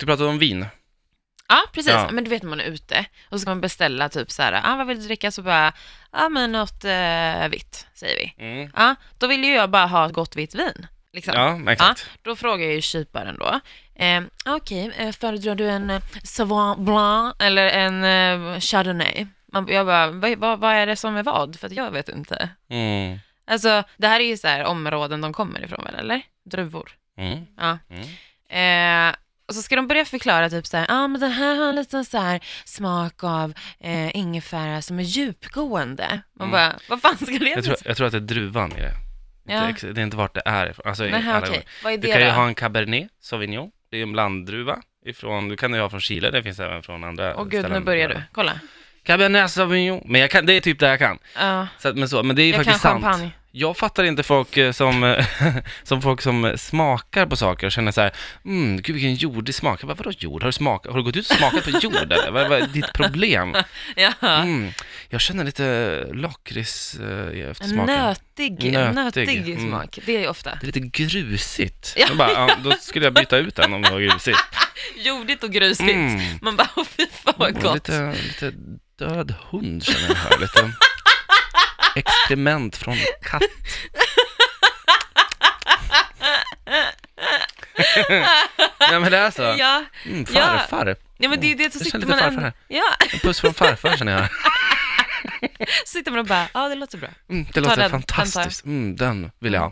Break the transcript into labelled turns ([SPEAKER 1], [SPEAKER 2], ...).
[SPEAKER 1] Du pratade om vin.
[SPEAKER 2] Ja, precis.
[SPEAKER 1] Ja.
[SPEAKER 2] Men du vet när man är ute och så ska man beställa typ så här, ah, vad vill du dricka? Så bara, ja ah, men något eh, vitt, säger vi.
[SPEAKER 1] Mm.
[SPEAKER 2] Ja, då vill ju jag bara ha ett gott vitt vin. Liksom.
[SPEAKER 1] Ja, exakt.
[SPEAKER 2] Då frågar jag ju kyparen då. Eh, Okej, eh, föredrar du en eh, Sauvin Blanc eller en eh, Chardonnay? Man, jag bara, vad, vad, vad är det som är vad? För att jag vet inte.
[SPEAKER 1] Mm.
[SPEAKER 2] Alltså, det här är ju så här områden de kommer ifrån väl, eller? Druvor.
[SPEAKER 1] Mm.
[SPEAKER 2] Ja.
[SPEAKER 1] Mm.
[SPEAKER 2] Eh, och så ska de börja förklara typ så här, ah, men den här har en liten så här smak av eh, ingefära som är djupgående. Man
[SPEAKER 1] Mm.
[SPEAKER 2] bara, vad fan ska det
[SPEAKER 1] Jag, tror,
[SPEAKER 2] ens-
[SPEAKER 1] jag tror att det är druvan i det.
[SPEAKER 2] Ja.
[SPEAKER 1] Inte ex- Det är inte vart det är ifrån. Alltså, i
[SPEAKER 2] Nähä,
[SPEAKER 1] alla
[SPEAKER 2] okej.
[SPEAKER 1] gånger.
[SPEAKER 2] Vad är
[SPEAKER 1] Du
[SPEAKER 2] det
[SPEAKER 1] kan ju
[SPEAKER 2] då?
[SPEAKER 1] ha en cabernet sauvignon. Det är en blanddruva. Ifrån, du kan ju ha från Chile, det finns även från andra
[SPEAKER 2] Åh gud, nu börjar du. Kolla.
[SPEAKER 1] Cabernet sauvignon. Men jag kan, det är typ det jag kan.
[SPEAKER 2] Ja,
[SPEAKER 1] Så, att- men, så, men det är
[SPEAKER 2] jag kan
[SPEAKER 1] faktiskt sant.
[SPEAKER 2] champagne.
[SPEAKER 1] Jag fattar inte folk eh, som, eh, som, folk som smakar på saker och känner så här, mm, gud vilken jordig smak. Jag bara, vadå jord? Har du, smakat, har du gått ut och smakat på jord eller? Vad, vad är ditt problem?
[SPEAKER 2] Ja.
[SPEAKER 1] Mm, jag känner lite lakrits eh, i
[SPEAKER 2] En
[SPEAKER 1] eftersmaken.
[SPEAKER 2] nötig,
[SPEAKER 1] Nötig.
[SPEAKER 2] nötig. nötig
[SPEAKER 1] Mm.
[SPEAKER 2] smak. Det är ju ofta.
[SPEAKER 1] Det är lite grusigt.
[SPEAKER 2] Ja.
[SPEAKER 1] Jag bara, ja, då skulle jag byta ut den om det var grusigt.
[SPEAKER 2] Jordigt och grusigt.
[SPEAKER 1] Mm.
[SPEAKER 2] Man bara, åh fy fan vad
[SPEAKER 1] Och
[SPEAKER 2] gott.
[SPEAKER 1] Lite, lite död hund känner jag här. Lite experiment från katt. Nej men det är så.
[SPEAKER 2] Ja,
[SPEAKER 1] Mm,
[SPEAKER 2] Ja.
[SPEAKER 1] farfar.
[SPEAKER 2] ja, men det är ju
[SPEAKER 1] Jag
[SPEAKER 2] det som
[SPEAKER 1] känner
[SPEAKER 2] sitter
[SPEAKER 1] lite
[SPEAKER 2] man
[SPEAKER 1] farfar här.
[SPEAKER 2] Ja,
[SPEAKER 1] En puss från farfar känner jag.
[SPEAKER 2] sitter man och bara, ja det låter bra.
[SPEAKER 1] Mm, det låter
[SPEAKER 2] den, den tar jag.
[SPEAKER 1] fantastiskt. Mm, den vill jag ha.